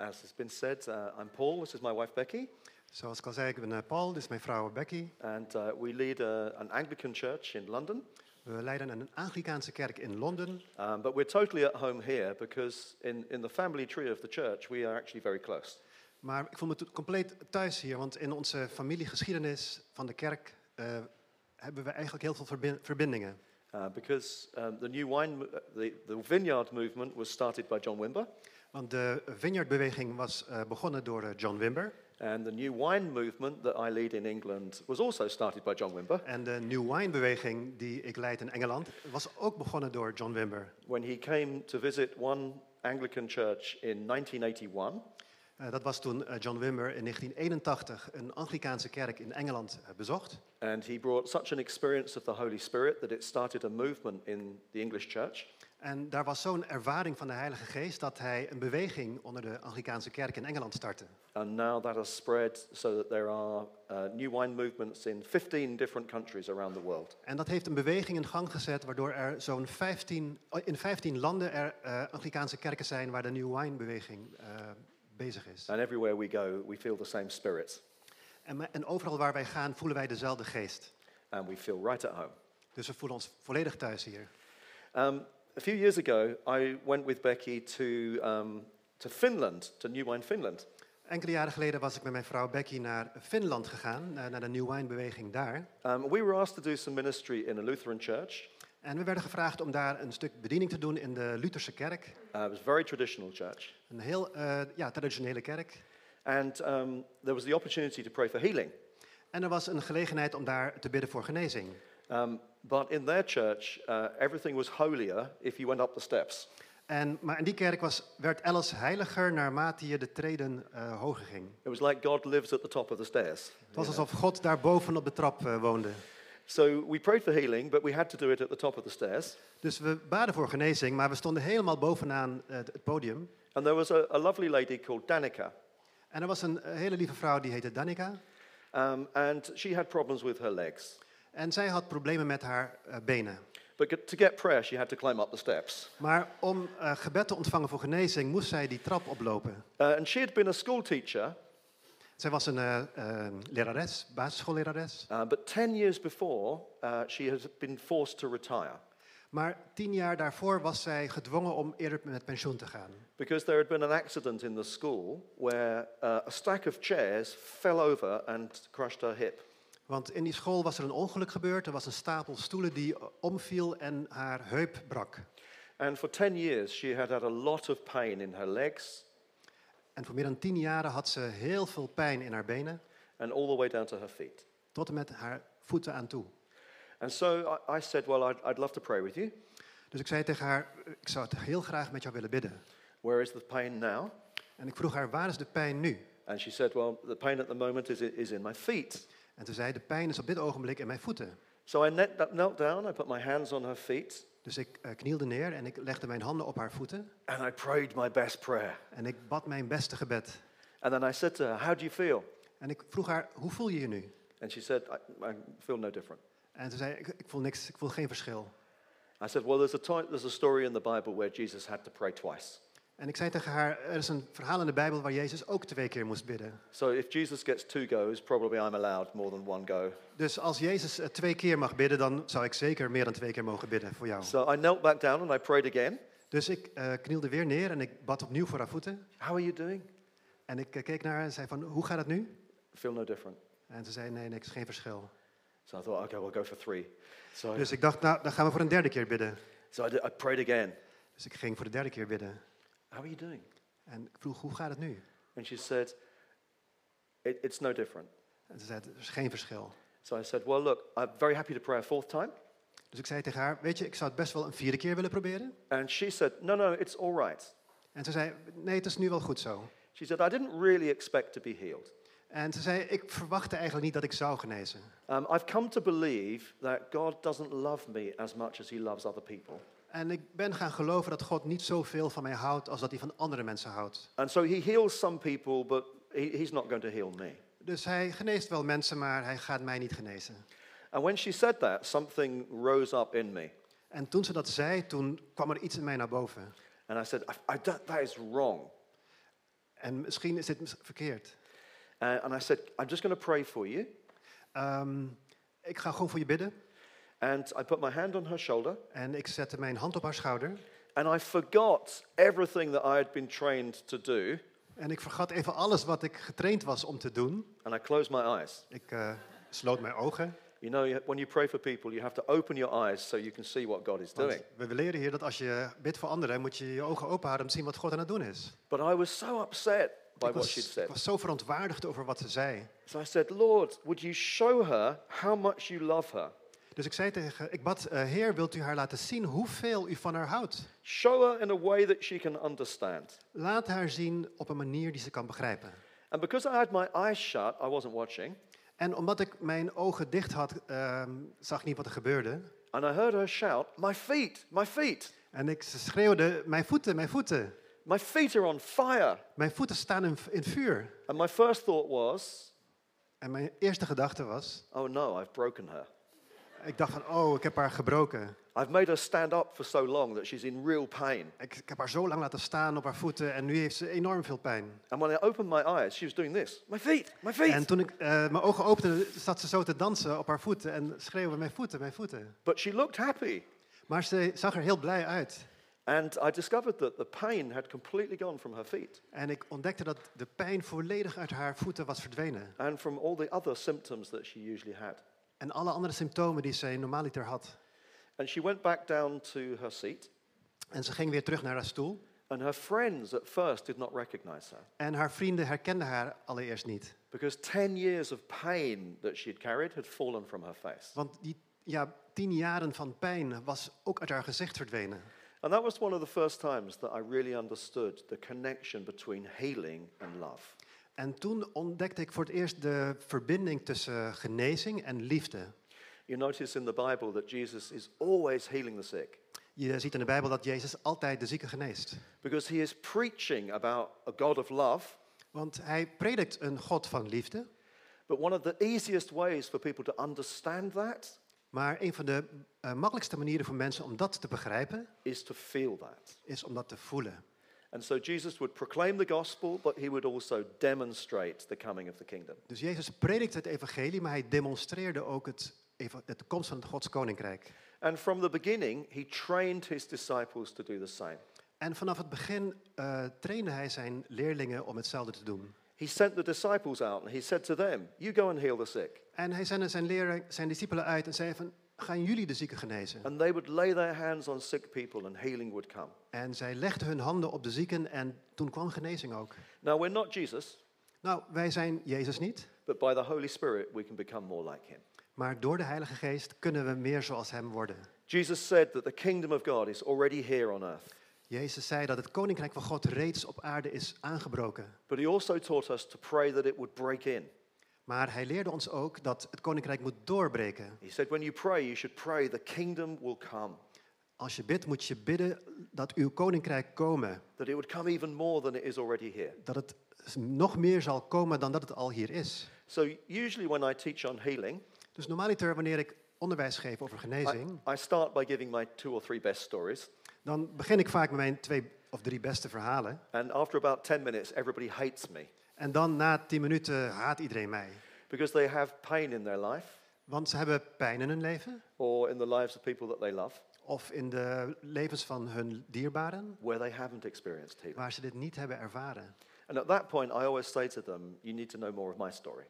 As has been said, uh, I'm Paul. This is my wife Becky, Zoals ik al zei, ik ben eh, Paul, dit is mijn vrouw Becky. and uh, we lead uh an Anglican church in London. We leiden een Anglicaanse kerk in Londen. Um, but we're totally at home here because in, in the family tree of the church, we are actually very close. Maar ik voel me to- compleet thuis hier, want in onze familiegeschiedenis van de kerk eh, hebben we eigenlijk heel veel verbin- verbindingen. Uh, because um, the new wine, mo- uh, the, the vineyard movement was started by John Wimber, Want de vineyardbeweging was eh, begonnen door eh, John Wimber. and the new wine movement that I lead in England was also started by John Wimber En de New Wine-beweging die ik leid in Engeland was ook begonnen door John Wimber. when he came to visit one Anglican church in 1981. Eh, dat was toen eh, John Wimber in 1981 een Anglicaanse kerk in Engeland eh, bezocht. And he brought such an experience of the Holy Spirit that it started a movement in the English church. En daar was zo'n ervaring van de Heilige Geest dat hij een beweging onder de Anglicaanse kerk in Engeland startte. And now that has spread so that there are uh, new wine movements in 15 different countries around the world. En dat heeft een beweging in gang gezet waardoor er zo'n 15, oh, in 15 landen er eh, Anglicaanse kerken zijn waar de New Wine-beweging eh, bezig is. And everywhere we go, we feel the same spirit En, me- en overal waar wij gaan voelen wij dezelfde geest. and we feel right at home. Dus we voelen ons volledig thuis hier. Um, a few years ago, I went with Becky to, um, to Finland, to New Wine Finland. Enkele jaren geleden was ik met mijn vrouw Becky naar Finland gegaan, eh, naar de New Wine-beweging daar. Um, we were asked to do some ministry in a Lutheran church. En we werden gevraagd om daar een stuk bediening te doen in de Lutherse kerk. Uh, it was a very traditional church. Een heel eh, ja, traditionele kerk. And um, there was the opportunity to pray for healing. En er was een gelegenheid om daar te bidden voor genezing. Um, but in their church, uh, everything was holier if you went up the steps. En, maar in die kerk was, werd alles heiliger naarmate je de treden eh, hoger ging. It was like God lives at the top of the stairs. Het was alsof God daar boven op de trap eh, woonde. So we prayed for healing, but we had to do it at the top of the stairs. Dus we baden voor genezing, maar we stonden helemaal bovenaan eh, het podium. And there was a, a lovely lady called Danica, En er was een eh, hele lieve vrouw die heette Danica. um, and she had problems with her legs. En zij had problemen met haar eh, benen. But get- to get prayer, she had to climb up the steps. Maar om eh, gebed te ontvangen voor genezing moest zij die trap oplopen. Uh, and she had been a school teacher, Zij was een eh, eh, lerares, basisschoollerares. uh, but 10 years before, uh, she had been forced to retire Maar tien jaar daarvoor was zij gedwongen om eerder met pensioen te gaan. because there had been an accident in the school where uh, a stack of chairs fell over and crushed her hip. Want in die school was er een ongeluk gebeurd. Er was een stapel stoelen die eh, omviel en haar heup brak. And for 10 years, she had had a lot of pain in her legs En voor meer dan tien jaren had ze heel veel pijn in haar benen, and all the way down to her feet. tot en met haar voeten aan toe. And so I, I said, Well, I'd, I'd love to pray with you. Dus ik zei tegen haar, ik zou het heel graag met jou willen bidden. Where is the pain now? En ik vroeg haar, waar is de pijn nu? And she said, Well, the pain at the moment is, i- is in my feet. En ze zei, de pijn is op dit ogenblik in mijn voeten. So I knelt da- knelt down, I put my hands on her feet, Dus ik eh, knielde neer en ik legde mijn handen op haar voeten. and I prayed my best prayer. En ik bad mijn beste gebed. And then I said to her, How do you feel? En ik vroeg haar, hoe voel je je nu? And she said, I, I feel no different. En ze zei, ik, ik voel niks, ik voel geen verschil. I said, Well, there's a, ti- there's a story in the Bible where Jesus had to pray twice. En ik zei tegen haar, er is een verhaal in de Bijbel waar Jezus ook twee keer moest bidden. So if Jesus gets two goes, probably I'm allowed more than one go. Dus als Jezus eh, twee keer mag bidden, dan zou ik zeker meer dan twee keer mogen bidden voor jou. So I knelt back down and I prayed again. Dus ik eh, knielde weer neer en ik bad opnieuw voor haar voeten. How are you doing? En ik eh, keek naar haar en zei van, hoe gaat het nu? Feel no different. En ze zei, nee, niks, geen verschil. So I thought, okay, we'll go for three. So, Dus ik dacht, nou, dan gaan we voor een derde keer bidden. so I, did, I prayed again. Dus ik ging voor de derde keer bidden. How are you doing? En ik vroeg, hoe gaat het nu? And she said, it, it's no different. En ze zei, er is geen verschil. So I said, well, look, I'm very happy to pray a fourth time. Dus ik zei tegen haar, weet je, ik zou het best wel een vierde keer willen proberen. And she said, no, no, it's all right. En ze zei, nee, het is nu wel goed zo. She said, I didn't really expect to be healed. En ze zei, ik verwachtte eigenlijk niet dat ik zou genezen. Um, I've come to believe that God doesn't love me as much as he loves other people. En ik ben gaan geloven dat God niet zoveel van mij houdt als dat hij van andere mensen houdt. And so he heals some people, but he, he's not going to heal me. Dus hij geneest wel mensen, maar hij gaat mij niet genezen. And when she said that, something rose up in me. En toen ze dat zei, toen kwam er iets in mij naar boven. And I said, I, I don't, that is wrong. En misschien is dit mis- verkeerd. Uh, and I said, I'm just going to pray for you. Ehm, ik ga gewoon voor je bidden. And I put my hand on her shoulder, En ik zette mijn hand op haar schouder. and I forgot everything that I had been trained to do, En ik vergat even alles wat ik getraind was om te doen. and I closed my eyes. Ik eh, sloot mijn ogen. You know, you- when you pray for people, you have to open your eyes so you can see what God is doing. Want we leren hier dat als je bidt voor anderen, moet je je ogen open houden om te zien wat God aan het doen is. But I was so upset by ik, what was, she'd ik said. was zo verontwaardigd over wat ze zei. So I said, Lord, would you show her how much you love her? Dus ik zei tegen, ik bad, eh, Heer, wilt u haar laten zien hoeveel u van haar houdt? Show her in a way that she can understand. Laat haar zien op een manier die ze kan begrijpen. And because I had my eyes shut, I wasn't watching, En omdat ik mijn ogen dicht had, ehm, zag ik niet wat er gebeurde. and I heard her shout, My feet, my feet, En ik ze schreeuwde, mijn voeten, mijn voeten. my feet are on fire. Mijn voeten staan in, in vuur. And my first thought was, En mijn eerste gedachte was, Oh no, I've broken her. ik dacht van, oh, ik heb haar gebroken. I've made her stand up for so long that she's in real pain. Ik, ik heb haar zo lang laten staan op haar voeten en nu heeft ze enorm veel pijn. And when I opened my eyes, she was doing this My feet, my feet. En toen ik eh, mijn ogen opende, zat ze zo te dansen op haar voeten en schreeuwde, mijn voeten, mijn voeten. but she looked happy. Maar ze zag er heel blij uit. And I discovered that the pain had completely gone from her feet En ik ontdekte dat de pijn volledig uit haar voeten was verdwenen. and from all the other symptoms that she usually had. En alle andere symptomen die zij normaliter had. And she went back down to her seat, En ze ging weer terug naar haar stoel. and her friends at first did not recognize her En haar vrienden herkenden haar allereerst niet. because 10 years of pain that she had carried had fallen from her face. Want die ja, tien jaren van pijn was ook uit haar gezicht verdwenen. And that was one of the first times that I really understood the connection between healing and love. En toen ontdekte ik voor het eerst de verbinding tussen genezing en liefde. You notice in the Bible that Jesus is always healing the sick Je ziet in de Bijbel dat Jezus altijd de zieken geneest. because he is preaching about a God of love Want hij predikt een God van liefde. But one of the easiest ways for people to understand that Maar een van de eh, makkelijkste manieren voor mensen om dat te begrijpen, is to feel that. is om dat te voelen. And so Jesus would proclaim the gospel, but he would also demonstrate the coming of the kingdom. Dus Jezus predikte het evangelie, maar hij demonstreerde ook het, eva- de komst van het Gods koninkrijk. And from the beginning, he trained his disciples to do the same. En vanaf het begin eh, trainde hij zijn leerlingen om hetzelfde te doen. He sent the disciples out and he said to them, You go and heal the sick. En hij zende zijn, leren, zijn discipelen uit en zei van, gaan jullie de zieken genezen? And they would lay their hands on sick people and healing would come. En zij legden hun handen op de zieken en toen kwam genezing ook. Now, we're not Jesus, Nou, wij zijn Jezus niet, but by the Holy Spirit, we can become more like him. maar door de Heilige Geest kunnen we meer zoals hem worden. Jesus said that the kingdom of God is already here on earth, Jezus zei dat het koninkrijk van God reeds op aarde is aangebroken. but he also taught us to pray that it would break in. Maar hij leerde ons ook dat het koninkrijk moet doorbreken. He said, When you pray, you should pray, the kingdom will come, Als je bidt, moet je bidden dat uw koninkrijk komen. that it would come even more than it is already here. Dat het nog meer zal komen dan dat het al hier is. So, usually when I teach on healing, Dus normaliter, wanneer ik onderwijs geef over I, genezing, I start by giving my two or three best stories. dan begin ik vaak met mijn twee of drie beste verhalen. And after about 10 minutes, everybody hates me En dan na tien minuten haat iedereen mij. because they have pain in their life Want ze hebben pijn in hun leven or in the lives of people that they love of in de levens van hun dierbaren, where they haven't experienced healing. waar ze dit niet hebben ervaren. And at that point, I always say to them, You need to know more of my story.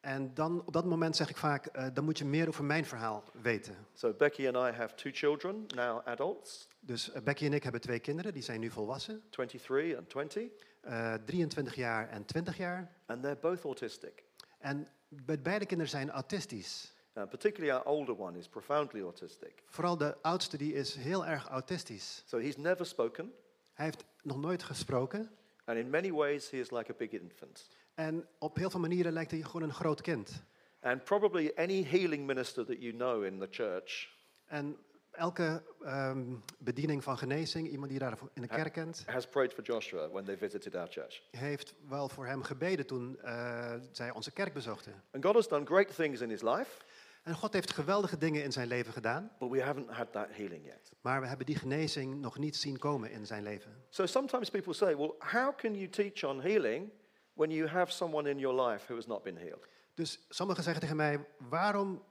En dan op dat moment zeg ik vaak, eh, dan moet je meer over mijn verhaal weten. So, Becky and I have two children, now adults, Dus eh, Becky en ik hebben twee kinderen, die zijn nu volwassen. 23 and 20, eh, 23 jaar en 20 jaar. and they're both autistic. En be- beide kinderen zijn autistisch. Uh, particularly our older one is profoundly autistic. Vooral de oudste die is heel erg autistisch. So he's never spoken, Hij heeft nog nooit gesproken. and in many ways he is like a big infant. En op heel veel manieren lijkt hij gewoon een groot kind. And probably any healing minister that you know in the church En elke ehm, bediening van genezing, iemand die daar in de kerk kent, has prayed for Joshua when they visited our church. heeft wel voor hem gebeden toen eh, zij onze kerk bezochten. And God has done great things in his life, En God heeft geweldige dingen in zijn leven gedaan, but we haven't had that healing yet. maar we hebben die genezing nog niet zien komen in zijn leven. So sometimes people say, well, how can you teach on healing when you have someone in your life who has not been healed? Dus sommigen zeggen tegen mij, waarom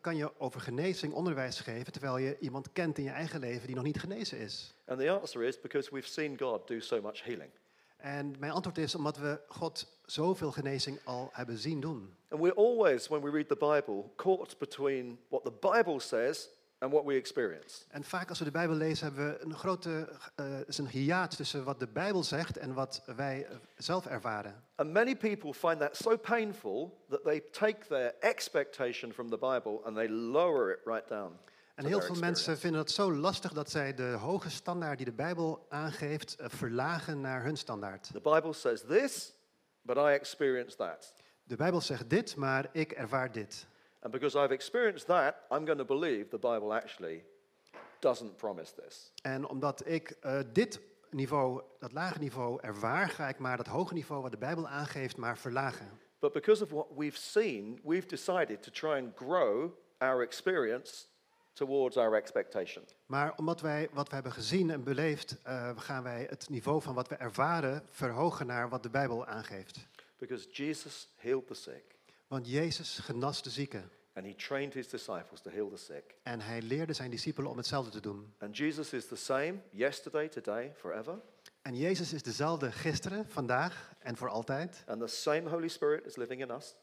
kan je over genezing onderwijs geven terwijl je iemand kent in je eigen leven die nog niet genezen is? And the answer is because we've seen God do so much healing. En mijn antwoord is omdat we God zoveel genezing al hebben zien doen. And we're always, when we read the Bible, caught between what the Bible says and what we experience. En vaak als we de Bijbel lezen hebben we een grote eh, is een hiaat tussen wat de Bijbel zegt en wat wij eh, zelf ervaren. And many people find that so painful that they take their expectation from the Bible and they lower it right down. En to heel their veel experience. mensen vinden dat zo lastig dat zij de hoge standaard die de Bijbel aangeeft eh, verlagen naar hun standaard. The Bible says this, but I experience that. De Bijbel zegt dit, maar ik ervaar dit. And because I've experienced that, I'm going to believe the Bible actually doesn't promise this. En omdat ik eh, dit niveau, dat lage niveau, ervaar, ga ik maar dat hoge niveau wat de Bijbel aangeeft, maar verlagen. But because of what we've seen, we've decided to try and grow our experience towards our expectation. Maar omdat wij wat we hebben gezien en beleefd, eh, gaan wij het niveau van wat we ervaren verhogen naar wat de Bijbel aangeeft. Because Jesus healed the sick, Want Jezus genas de zieken and he trained his disciples to heal the sick. en hij leerde zijn discipelen om hetzelfde te doen. And Jesus is the same yesterday, today, forever. En Jezus is dezelfde gisteren, vandaag en voor altijd. And the same Holy Spirit is living in us.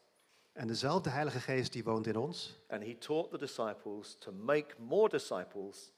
En dezelfde Heilige Geest die woont in ons. And he taught the disciples to make more disciples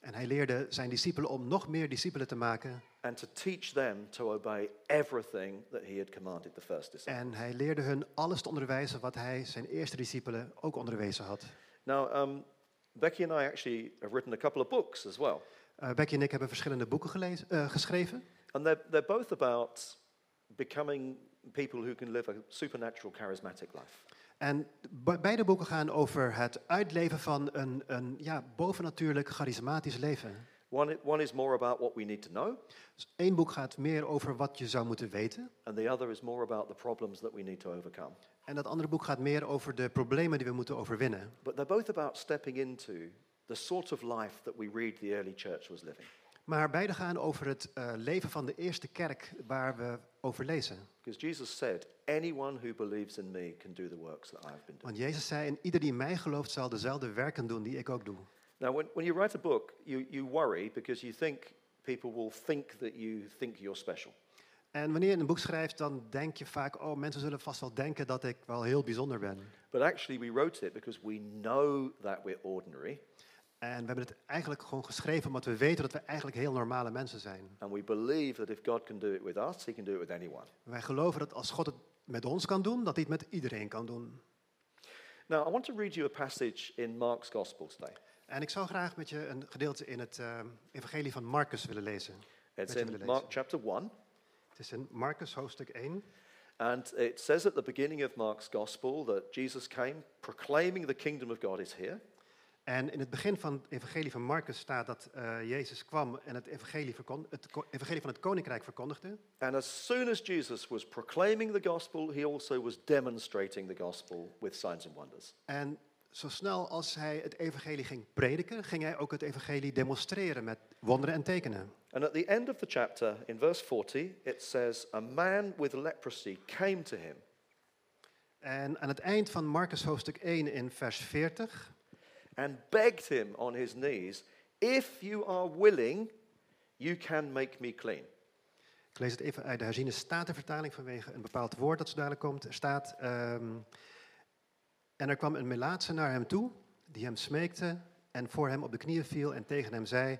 En hij leerde zijn discipelen om nog meer discipelen te maken. and to teach them to obey everything that he had commanded the first disciples. En hij leerde hun alles te onderwijzen wat hij zijn eerste discipelen ook onderwezen had. Now, um, Becky and I actually have written a couple of books as well, Eh, Becky en ik hebben verschillende boeken gelezen, eh, geschreven. and they're, they're both about becoming people who can live a supernatural, charismatic life. En be- beide boeken gaan over het uitleven van een, een ja, bovennatuurlijk charismatisch leven. One, i- one is more about what we need to know, Dus Eén boek gaat meer over wat je zou moeten weten. and the other is more about the problems that we need to overcome. En dat andere boek gaat meer over de problemen die we moeten overwinnen. But they're both about stepping into the sort of life that we read the early church was living. Maar beide gaan over het eh, leven van de eerste kerk waar we over lezen. Because Jesus said, Anyone who believes in me can do the works that I've been doing. Want Jezus zei, en ieder die in mij gelooft zal dezelfde werken doen die ik ook doe. Now, when, when you write a book, you, you worry because you think people will think that you think you're special. En wanneer je een boek schrijft, dan denk je vaak, oh, mensen zullen vast wel denken dat ik wel heel bijzonder ben. But actually, we wrote it because we know that we're ordinary En we hebben het eigenlijk gewoon geschreven omdat we weten dat we eigenlijk heel normale mensen zijn. and we believe that if God can do it with us, He can do it with anyone. Wij geloven dat als God het met ons kan doen, dat hij het met iedereen kan doen. Now, I want to read you a passage in Mark's Gospel today. En ik zou graag met je een gedeelte in het eh, evangelie van Marcus willen lezen. Met It's je willen in lezen. Mark chapter 1, Het is in Marcus hoofdstuk 1. and it says at the beginning of Mark's Gospel that Jesus came proclaiming the kingdom of God is here. En in het begin van het evangelie van Marcus staat dat eh, Jezus kwam en het evangelie, verkon- het ko- evangelie van het koninkrijk verkondigde. And as soon as Jesus was proclaiming the gospel, he also was demonstrating the gospel with signs and wonders. En zo snel als hij het evangelie ging prediken, ging hij ook het evangelie demonstreren met wonderen en tekenen. And at the end of the chapter, in verse 40, it says, A man with leprosy came to him. En aan het eind van Marcus hoofdstuk 1 in vers 40 and begged him on his knees, If you are willing, you can make me clean. Ik lees het even uit de herziene statenvertaling vanwege een bepaald woord dat zo dadelijk komt. Er staat, ehm, en er kwam een melaatse naar hem toe, die hem smeekte en voor hem op de knieën viel en tegen hem zei,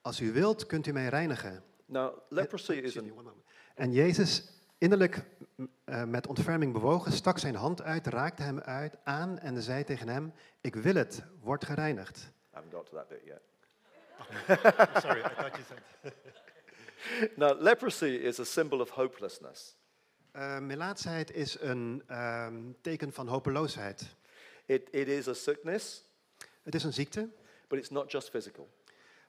als u wilt kunt u mij reinigen. Now, leprosy is Excuse an, me, one moment. En Jezus, innerlijk m, eh, met ontferming bewogen, stak zijn hand uit, raakte hem uit, aan en zei tegen hem, ik wil het, word gereinigd. I haven't got to that bit yet. Sorry, I thought you said... Now, leprosy is a symbol of hopelessness. Eh, melaatsheid is een ehm, teken van hopeloosheid. It, it is a sickness, Het is een ziekte, but it's not just physical.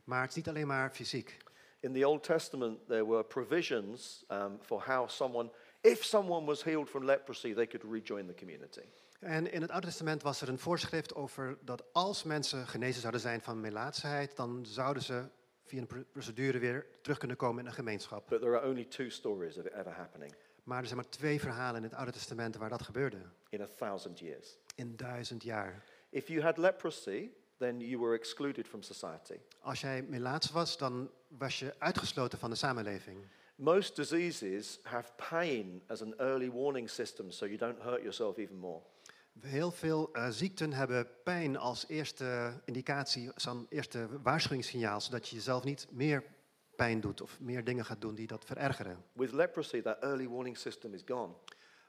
maar het is niet alleen maar fysiek. In the Old Testament, there were provisions um, for how someone, if someone was healed from leprosy, they could rejoin the community. En in het Oude Testament was er een voorschrift over dat als mensen genezen zouden zijn van melaatsheid, dan zouden ze via een pro- procedure weer terug kunnen komen in een gemeenschap. But there are only two stories of it ever happening Maar er zijn maar twee verhalen in het Oude Testament waar dat gebeurde. in a thousand years. In duizend jaar. If you had leprosy, then you were excluded from society. Als jij melaats was, dan was je uitgesloten van de samenleving. Most diseases have pain as an early warning system so you don't hurt yourself even more. Heel veel eh, ziekten hebben pijn als eerste indicatie, als een eerste waarschuwingssignaal, zodat je jezelf niet meer pijn doet of meer dingen gaat doen die dat verergeren. With leprosy, that early warning system is gone.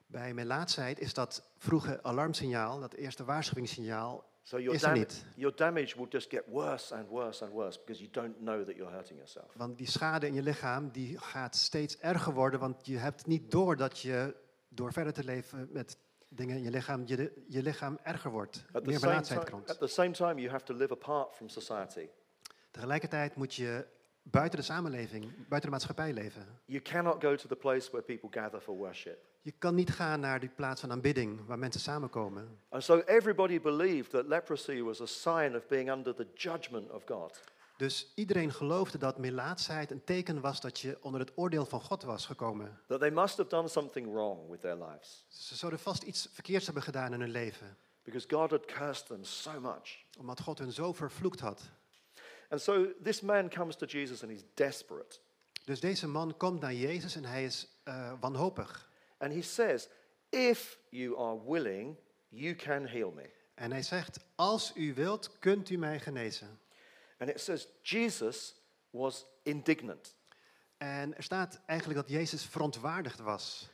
Bij melaatsheid is dat vroege alarmsignaal, dat eerste waarschuwingssignaal, So your, is er dam- niet. your damage will just get worse and worse and worse because you don't know that you're hurting yourself. Want die schade in je lichaam die gaat steeds erger worden, want je hebt niet door dat je door verder te leven met dingen in je lichaam, je, de- je lichaam erger wordt. At the, meer same melaatsheid time, komt. at the same time, you have to live apart from society. Tegelijkertijd moet je buiten de samenleving, buiten de maatschappij leven. You cannot go to the place where people gather for worship. Je kan niet gaan naar die plaats van aanbidding waar mensen samenkomen. And so everybody believed that leprosy was a sign of being under the judgment of God. Dus iedereen geloofde dat melaatsheid een teken was dat je onder het oordeel van God was gekomen. that they must have done something wrong with their lives Ze zouden vast iets verkeerds hebben gedaan in hun leven, because God had cursed them so much. omdat God hun zo vervloekt had. And so this man comes to Jesus and he's desperate. Dus deze man komt naar Jezus en hij is eh, wanhopig. And he says, If you are willing, you can heal me. En hij zegt, als u wilt, kunt u mij genezen. And it says, Jesus was indignant. En er staat eigenlijk dat Jezus verontwaardigd was.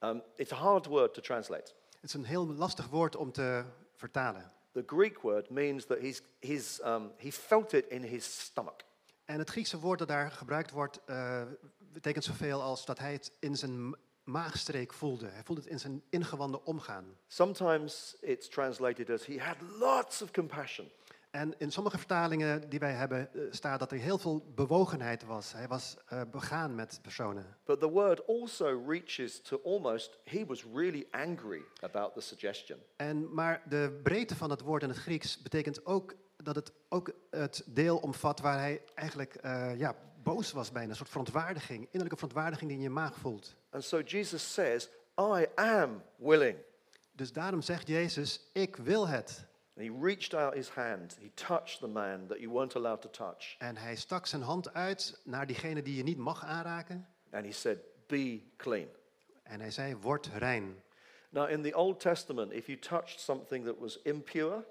Um, it's a hard word to translate. Het is een heel lastig woord om te vertalen. The Greek word means that he's, he's, um, he felt it in his stomach. En het Griekse woord dat daar gebruikt wordt, eh, betekent zoveel als dat hij het in zijn ma- maagstreek voelde. Hij voelde het in zijn ingewanden omgaan. Sometimes it's translated as he had lots of compassion. En in sommige vertalingen die wij hebben, eh, staat dat er heel veel bewogenheid was. Hij was eh, begaan met personen. But the word also reaches to almost, he was really angry about the suggestion. En, maar de breedte van dat woord in het Grieks betekent ook dat het ook het deel omvat waar hij eigenlijk eh, ja, boos was bijna. Een soort verontwaardiging, innerlijke verontwaardiging die je in je maag voelt. And so Jesus says, I am willing. Dus daarom zegt Jezus, ik wil het. And he reached out his hand. He touched the man that you weren't allowed to touch. En hij stak zijn hand uit naar diegene die je niet mag aanraken. And he said, Be clean. En hij zei, word rein. Now, in the Old Testament, if you touched something that was impure,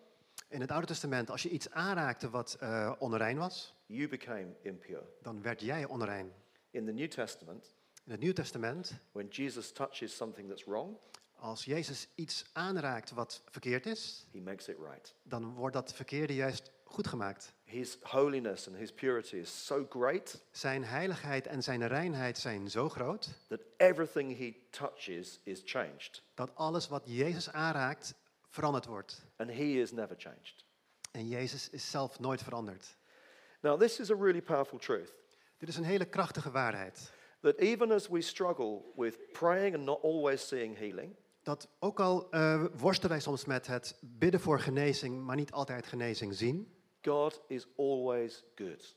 In het Oude Testament, als je iets aanraakte wat eh, onrein was, you became impure. dan werd jij onrein. In the New Testament, In het Nieuw Testament, when Jesus touches something that's wrong, als Jezus iets aanraakt wat verkeerd is, he makes it right. dan wordt dat verkeerde juist goed gemaakt. His holiness and his purity is so great Zijn heiligheid en zijn reinheid zijn zo groot that everything he touches is changed. dat alles wat Jezus aanraakt veranderd wordt. And he is never changed. En Jezus is zelf nooit veranderd. Now, this is a really powerful truth. Dit is een hele krachtige waarheid. that even as we struggle with praying and not always seeing healing, dat ook al eh, worstelen wij soms met het bidden voor genezing, maar niet altijd genezing zien. God is always good.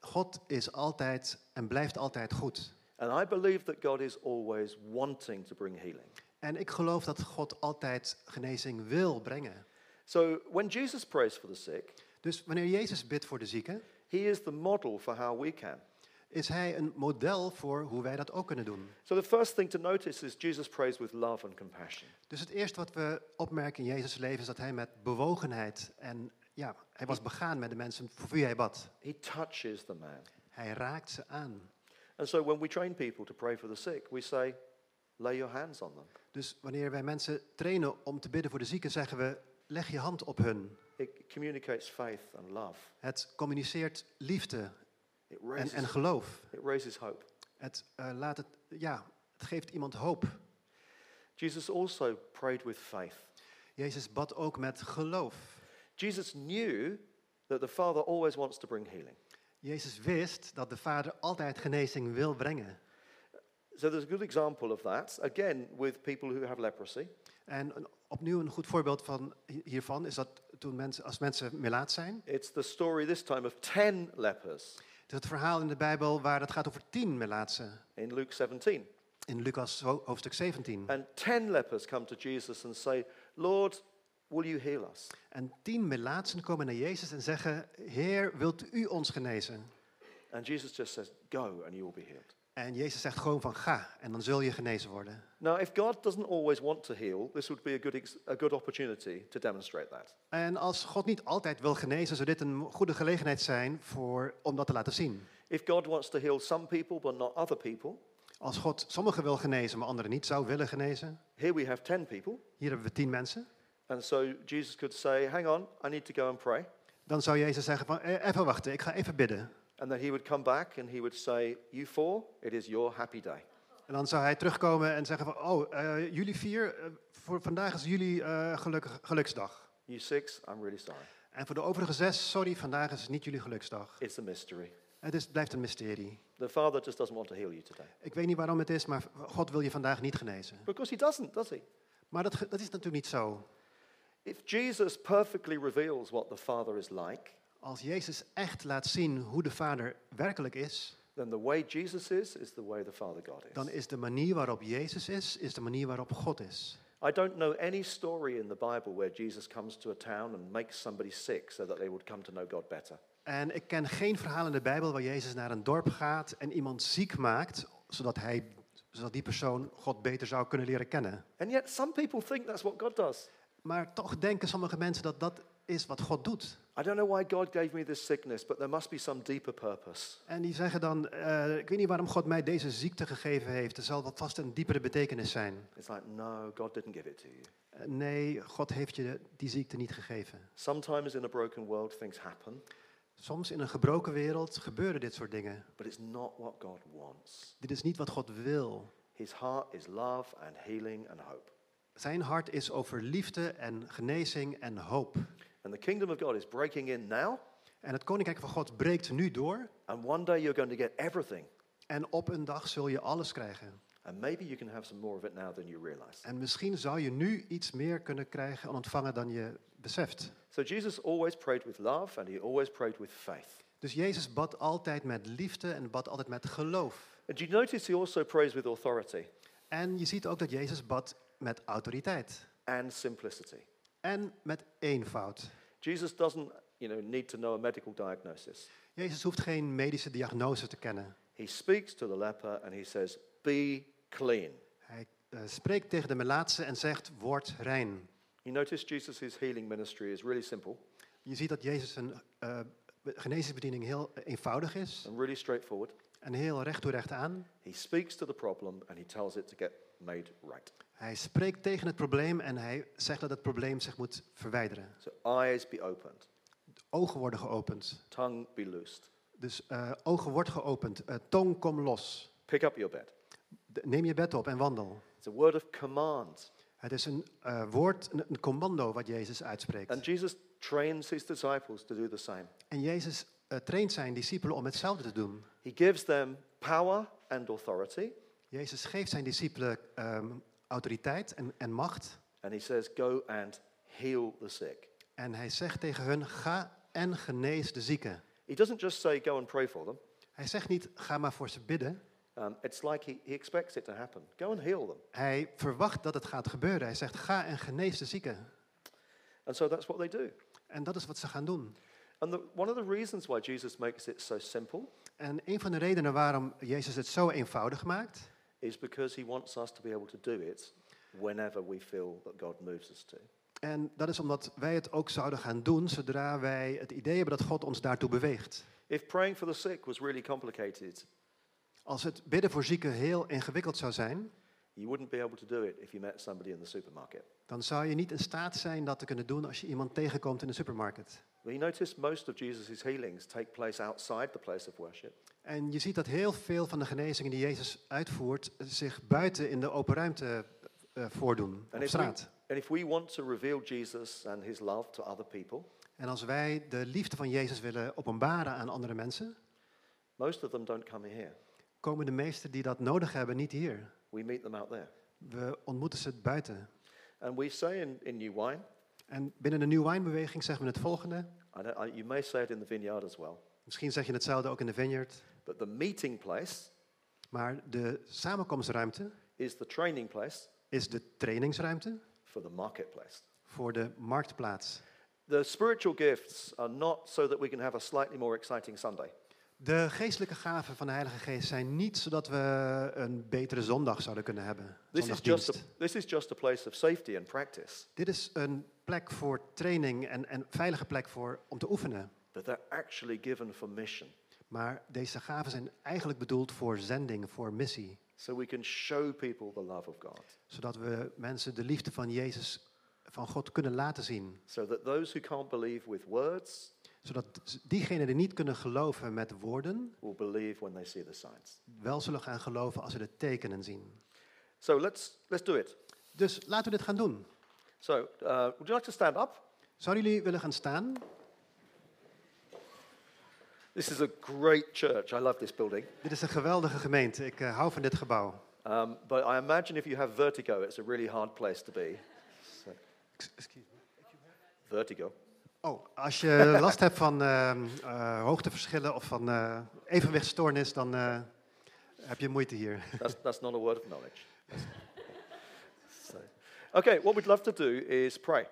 God is altijd en blijft altijd goed. And I believe that God is always wanting to bring healing. En ik geloof dat God altijd genezing wil brengen. So when Jesus prays for the sick, Dus wanneer Jezus bidt voor de zieken, he is the model for how we can. is hij een model voor hoe wij dat ook kunnen doen. So the first thing to notice is Jesus prays with love and compassion. Dus het eerste wat we opmerken in Jezus' leven is dat hij met bewogenheid en ja, hij was begaan met de mensen voor wie hij bad. He touches the man. Hij raakt ze aan. And so when we train people to pray for the sick, we say, lay your hands on them. Dus wanneer wij mensen trainen om te bidden voor de zieken, zeggen we: leg je hand op hun. It communicates faith and love. Het communiceert liefde It en, raises, en geloof. it raises hope. Het, eh, laat het, ja, het geeft iemand hoop. Jesus also prayed with faith. Jezus bad ook met geloof. Jesus knew that the Father always wants to bring healing. Jezus wist dat de Vader altijd genezing wil brengen. So there's a good example of that, again, with people who have leprosy. En een- opnieuw een goed voorbeeld van hi- hiervan is dat toen mensen, als mensen melaat zijn, It's the story this time of 10 lepers het is het verhaal in de Bijbel waar het gaat over tien melaatsen in Luke 17. in Lucas ho- hoofdstuk 17. And 10 lepers come to Jesus and say, Lord, will you heal us? En tien melaatsen komen naar Jezus en zeggen, Heer, wilt u ons genezen? And Jesus just says, Go and you will be healed. En Jezus zegt gewoon van ga en dan zul je genezen worden. Now, if God doesn't always want to heal, this would be a good, ex- a good opportunity to demonstrate that. En als God niet altijd wil genezen, zou dit een mo- goede gelegenheid zijn voor, om dat te laten zien. If God wants to heal some people but not other people, Als God sommigen wil genezen, maar anderen niet zou willen genezen. here we have 10 people. Hier hebben we tien mensen. And so Jesus could say, Hang on, I need to go and pray. Dan zou Jezus zeggen van "Eh, even wachten, ik ga even bidden. And then he would come back and he would say, You four, it is your happy day. En dan zou hij terugkomen en zeggen van oh, eh, jullie vier, eh, voor vandaag is jullie eh, gelukkig, geluksdag. You six, I'm really sorry. En voor de overige zes, sorry, vandaag is niet jullie geluksdag. It's a mystery. Het is, blijft een mysterie. The Father just doesn't want to heal you today. Ik weet niet waarom het is, maar God wil je vandaag niet genezen. Because he doesn't, does he? Maar dat, ge- dat is natuurlijk niet zo. If Jesus perfectly reveals what the Father is like, Als Jezus echt laat zien hoe de Vader werkelijk is, then the way Jesus is is the way the Father God dan is. is de manier waarop Jezus is, is de manier waarop God is. I don't know any story in the Bible where Jesus comes to a town and makes somebody sick so that they would come to know God better. En ik ken geen verhaal in de Bijbel waar Jezus naar een dorp gaat en iemand ziek maakt, zodat, hij, zodat die persoon God beter zou kunnen leren kennen. And yet, some people think that's what God does. Maar toch denken sommige mensen dat dat is wat God doet. I don't know why God gave me this sickness, but there must be some deeper purpose. En die zeggen dan, eh, ik weet niet waarom God mij deze ziekte gegeven heeft, er zal wat vast een diepere betekenis zijn. It's like, no, God didn't give it to you. Eh, Nee, God heeft je die ziekte niet gegeven. Sometimes in a broken world, things happen, Soms in een gebroken wereld gebeuren dit soort dingen. but it's not what God wants. Dit is niet wat God wil. His heart is love and healing and hope. Zijn hart is over liefde en genezing en hoop. And the kingdom of God is breaking in now, En het koninkrijk van God breekt nu door. and one day you're going to get everything. En op een dag zul je alles krijgen. And maybe you can have some more of it now than you realize. En misschien zou je nu iets meer kunnen krijgen en ontvangen dan je beseft. So Jesus always prayed with love, and he always prayed with faith. Dus Jezus bad altijd met liefde en bad altijd met geloof. And you notice he also prays with authority En je ziet ook dat Jezus bad met autoriteit and simplicity. en met eenvoud. Jesus doesn't, you know, need to know a medical diagnosis. Jezus hoeft geen medische diagnose te kennen. He speaks to the leper and he says, Be clean. Hij eh, spreekt tegen de melaatse en zegt: Word rein. You notice Jesus' healing ministry is really simple Je ziet dat Jezus een eh, be- genezingsbediening heel eenvoudig is and really straightforward. en heel recht toe recht aan. He speaks to the problem and he tells it to get made right. Hij spreekt tegen het probleem en hij zegt dat het probleem zich moet verwijderen. So eyes be opened, De ogen worden geopend. tongue be loosed, Dus eh, ogen wordt geopend. Eh, tong, kom los. pick up your bed. De- neem je bed op en wandel. It's a word of command. Het is een eh, woord, een, een commando wat Jezus uitspreekt. And Jesus trains his disciples to do the same. En Jezus eh, traint zijn discipelen om hetzelfde te doen. He gives them power and authority, Jezus geeft zijn discipelen ehm, autoriteit en, en macht. and he says, Go and heal the sick. En hij zegt tegen hun, ga en genees de zieken. He doesn't just say, Go and pray for them. Hij zegt niet, ga maar voor ze bidden. Um, it's like he, he expects it to happen. Go and heal them. Hij verwacht dat het gaat gebeuren. Hij zegt, ga en genees de zieken. And so that's what they do. En dat is wat ze gaan doen. And the, one of the reasons why Jesus makes it so simple En een van de redenen waarom Jezus het zo eenvoudig maakt, is because he wants us to be able to do it whenever we feel that God moves us to. en dat is omdat wij het ook zouden gaan doen zodra wij het idee hebben dat God ons daartoe beweegt. If praying for the sick was really complicated, Als het bidden voor zieken heel ingewikkeld zou zijn, you wouldn't be able to do it if you met somebody in the supermarket. dan zou je niet in staat zijn dat te kunnen doen als je iemand tegenkomt in de supermarkt. Well, you notice most of Jesus' healings take place outside the place of worship. En je ziet dat heel veel van de genezingen die Jezus uitvoert zich buiten in de open ruimte eh, voordoen, En op ik- straat. And if we want to reveal Jesus and his love to other people, En als wij de liefde van Jezus willen openbaren aan andere mensen, Most of them don't come here. komen de meesten die dat nodig hebben niet hier. We meet them out there. We ontmoeten ze buiten. And we say in, in New Wine, En binnen de New Wine-beweging zeggen we het volgende. I don't, I, you may say it in the vineyard as well, Misschien zeg je hetzelfde ook in de vineyard. but the meeting place Maar de samenkomstruimte is the training place is de trainingsruimte for the marketplace. voor de marktplaats. The spiritual gifts are not so that we can have a slightly more exciting Sunday. De geestelijke gaven van de Heilige Geest zijn niet zodat we een betere zondag zouden kunnen hebben. This is, just a, Zondagdienst. this is just a place of safety and practice, Dit is een plek voor training en een veilige plek voor, om te oefenen. but they're actually given for mission. Maar deze gaven zijn eigenlijk bedoeld voor zending, voor missie. So we can show people the love of God, Zodat we mensen de liefde van Jezus, van God kunnen laten zien. so that those who can't believe with words Zodat z- diegenen die niet kunnen geloven met woorden, will believe when they see the signs. wel zullen gaan geloven als ze de tekenen zien. So let's, let's do it. Dus laten we dit gaan doen. So, uh, would you like to stand up? Zouden jullie willen gaan staan? This is a great church. I love this building. Dit is een geweldige gemeente. Ik eh, hou van dit gebouw. Um, but I imagine if you have vertigo, it's a really hard place to be. So, vertigo. Oh, als je last hebt van ehm, eh, hoogteverschillen of van eh evenwichtstoornis, dan eh, heb je moeite hier. That's, that's not a word of knowledge. That's- so. Okay, what we'd love to do is pray.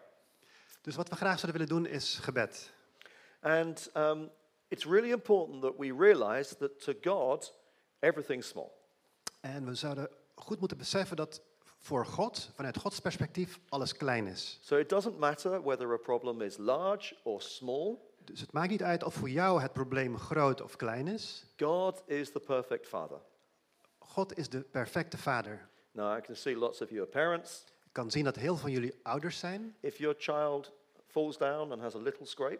Dus wat we graag zouden willen doen is gebed. And um, it's really important that we realize that to God, everything's small. En we zouden goed moeten beseffen dat voor God, vanuit Gods perspectief, alles klein is. So it doesn't matter whether a problem is large or small, Dus het maakt niet uit of voor jou het probleem groot of klein is. God is the perfect Father. God is de perfecte vader. Now, I can see lots of you are parents. Ik kan zien dat heel veel jullie ouders zijn. If your child falls down and has a little scrape,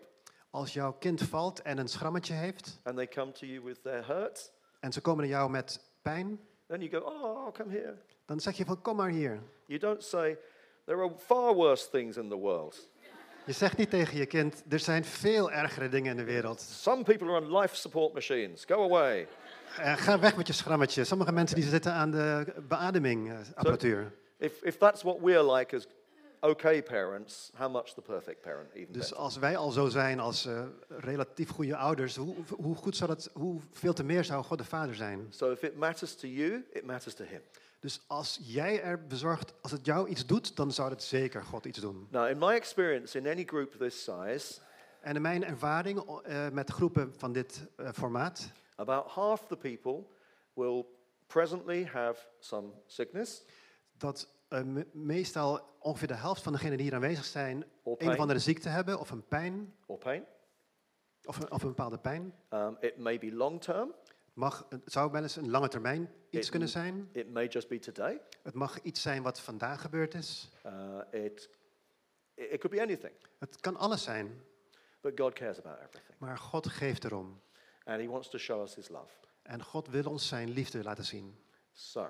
Als jouw kind valt en een schrammetje heeft and they come to you with their hurts, en ze komen naar jou met pijn, then you go, Oh, come here. dan zeg je van kom maar hier. You don't say, There are far worse things in the world. Je zegt niet tegen je kind, er zijn veel ergere dingen in de wereld. Some people are on life support machines. Go away. Eh, ga weg met je schrammetje. Sommige mensen die zitten aan de eh, beademingapparatuur. If, if that's what we're like as okay parents, how much the perfect parent even Dus better. als wij al zo zijn als eh, relatief goede ouders, hoe, hoe goed zou dat, hoe veel te meer zou God de Vader zijn? So if it matters to you, it matters to him. Dus als jij er bezorgd, als het jou iets doet, dan zou het zeker God iets doen. Now, in my experience, in any group this size, En in mijn ervaring o- eh, met groepen van dit eh, formaat, about half the people will presently have some sickness dat eh, me- meestal ongeveer de helft van degenen die hier aanwezig zijn, or een of pain, andere ziekte hebben of een pijn, or pain. of een, of een bepaalde pijn. Um, it may be long term. Mag, het zou wel eens een lange termijn iets Ik- kunnen zijn. It may just be today. Het mag iets zijn wat vandaag gebeurd is. Uh, it, it it could be anything. Het kan alles zijn, But God cares about everything. maar God geeft erom. And He wants to show us His love. En God wil ons zijn liefde laten zien. So,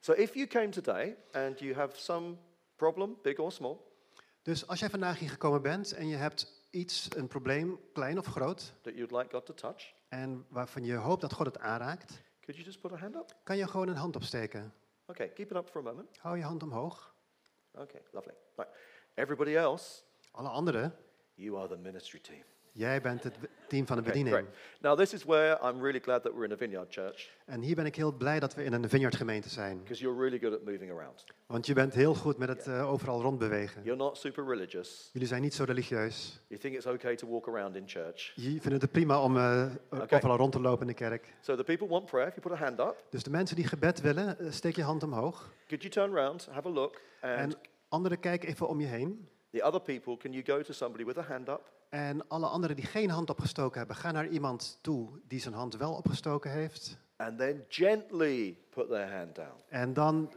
so if you came today and you have some problem, big or small, Dus als jij vandaag hier gekomen bent en je hebt iets, een probleem, klein of groot, that you'd like God to touch, en waarvan je hoopt dat God het aanraakt, could you just put a hand up? kan je gewoon een hand opsteken. Okay, keep it up for a moment. Hou je hand omhoog. Okay, lovely. Right. Everybody else, Alle anderen, you are the ministry team. jij bent het team van de Okay, bediening. great. Now, this is where I'm really glad that we're in a vineyard church En hier ben ik heel blij dat we in een vineyardgemeente zijn. because you're really good at moving around. Want je bent heel goed met het eh, overal rondbewegen. You're not super religious. Jullie zijn niet zo religieus. You think it's okay to walk around in church. Jullie vinden het prima om eh, Oké. overal rond te lopen in de kerk. So, the people want prayer. If you put a hand up, Dus de mensen die gebed willen, eh, steek je hand omhoog. could you turn around, have a look, and En anderen, kijk even om je heen. the other people, can you go to somebody with a hand up? En alle anderen die geen hand opgestoken hebben, ga naar iemand toe die zijn hand wel opgestoken heeft. And then gently put their hand down. En dan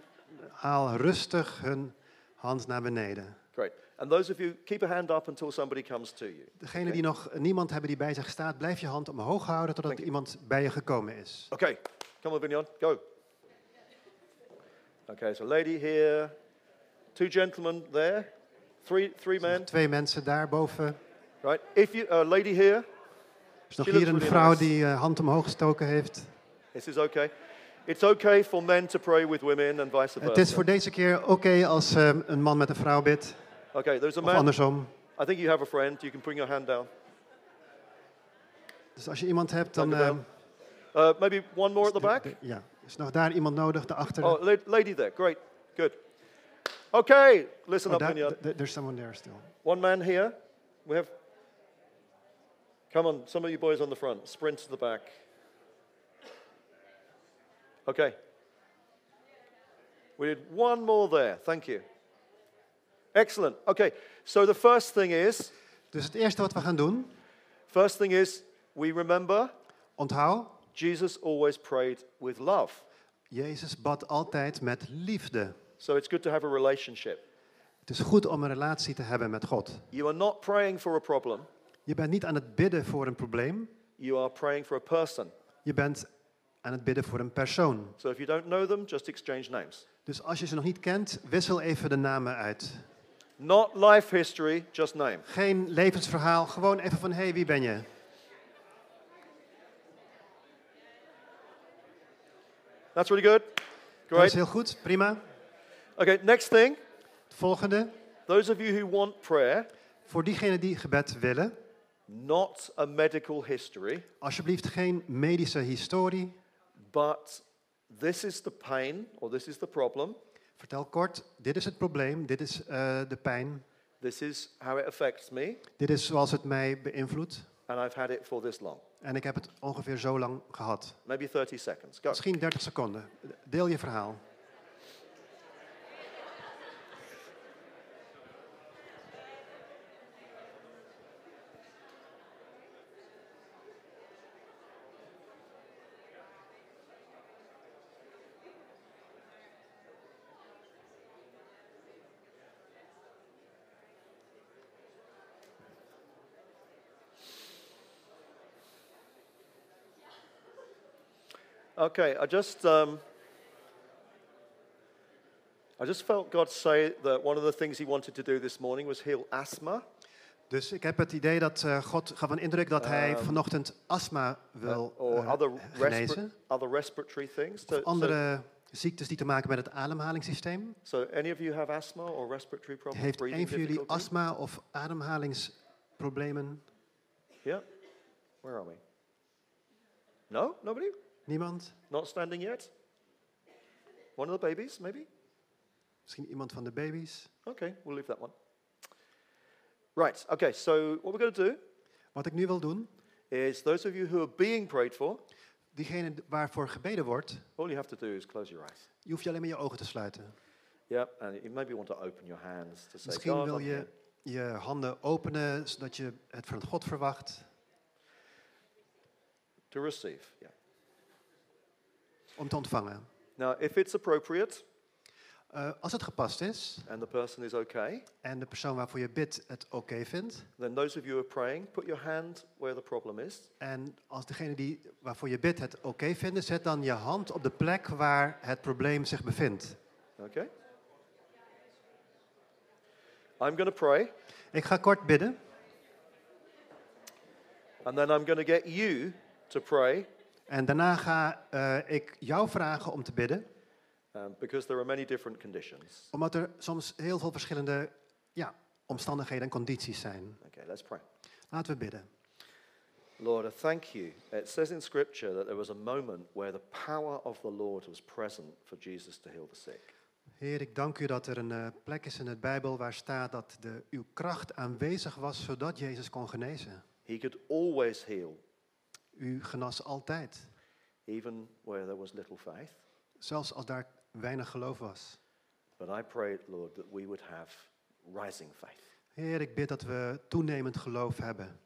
haal rustig hun hand naar beneden. Great. And those of you, keep a hand up until somebody comes to you. Degene die nog niemand hebben die bij zich staat, blijf je hand omhoog houden totdat Dank je. iemand bij je gekomen is. Okay, come on, Vignon, go. Okay, so lady here, two gentlemen there, three, three Er zijn men, nog Twee mensen daarboven. right? If you, uh, lady here, Er is nog She hier looks really een vrouw nice. die eh, hand omhoog gestoken heeft. This is okay. It's okay for men to pray with women and vice versa. Het is voor deze keer oké als eh, een man met een vrouw bidt. Okay, there's a Of man. andersom. I think you have a friend. You can bring your hand down. Dus als je iemand hebt, dan... Dank u wel. eh, Uh, maybe one more at the de- back. de- ja. Is nog daar iemand nodig, daarachter? Oh, la- lady there. Great. Good. Okay, listen Oh, up, daar, Vinyard. th- th- there's someone there still. One man here. We have. Come on, some of you boys on the front. Sprint to the back. Okay. We did one more there. Thank you. Excellent. Okay. So the first thing is, Dus het eerste wat we gaan doen, first thing is, we remember onthoud, Jesus always prayed with love. Jezus bad altijd met liefde. So it's good to have a relationship. Het is goed om een relatie te hebben met God. You are not praying for a problem. Je bent niet aan het bidden voor een probleem, You are praying for a person. je bent aan het bidden voor een persoon. So if you don't know them, just exchange names. Dus als je ze nog niet kent, wissel even de namen uit. Not life history, just name. Geen levensverhaal, gewoon even van hé, hey, wie ben je? That's really good. Dat is Great. heel goed, prima. Okay, next thing. Het volgende, Those of you who want prayer, voor diegenen die gebed willen, not a medical history, alsjeblieft geen medische historie. but this is the pain or this is the problem. Vertel kort, dit is het probleem, dit is eh, de pijn, This is how it affects me, dit is zoals het mij beïnvloedt. and I've had it for this long. En ik heb het ongeveer zo lang gehad. Maybe 30 seconds. Go. Misschien 30 seconden. Deel je verhaal. Okay, I just um, I just felt God say that one of the things He wanted to do this morning was heal asthma. Dus ik heb het idee dat eh, God gaf een indruk dat hij Ehm, vanochtend astma wil Uh, or eh, other, respir- genezen. other respiratory things. So, Of so- andere ziektes die te maken met het ademhalingssysteem. so any of you have asthma or respiratory problems? Heeft breathing een van jullie difficulties? astma of ademhalingsproblemen? Yeah. Where are we? No? Nobody? Niemand? Not standing yet? One of the babies, maybe? Misschien iemand van de baby's? Okay, we'll leave that one. Right, okay, so what we're going to do Wat ik nu wil doen, is those of you who are being prayed for, diegene waarvoor gebeden wordt, all you have to do is close your eyes. je hoeft je alleen maar je ogen te sluiten. Yeah, and you maybe want to open your hands to say, Misschien God, wil I'm here." je je handen openen, zodat je het van God verwacht, to receive. Yeah. om te ontvangen. Now, if it's appropriate Eh, als het gepast is and the person is okay, en de persoon waarvoor je bidt het oké vindt, Then those of you who are praying, put your hand where the problem is. en als degene die, waarvoor je bidt het oké vinden, zet dan je hand op de plek waar het probleem zich bevindt. Okay? I'm going to pray, Ik ga kort bidden and then I'm going to get you to pray en daarna ga eh, ik jou vragen om te bidden, um, because there are many different conditions. omdat er soms heel veel verschillende ja, omstandigheden en condities zijn. Okay, let's pray. Laten we bidden. Lord, I thank you. It says in Scripture that there was a moment where the power of the Lord was present for Jesus to heal the sick. Heer, ik dank u dat er een eh, plek is in het Bijbel waar staat dat de, uw kracht aanwezig was zodat Jezus kon genezen. He could always heal, U genas altijd, even where there was little faith. zelfs als daar weinig geloof was. But I pray, Lord, that we would have rising faith. Heer, ik bid dat we toenemend geloof hebben.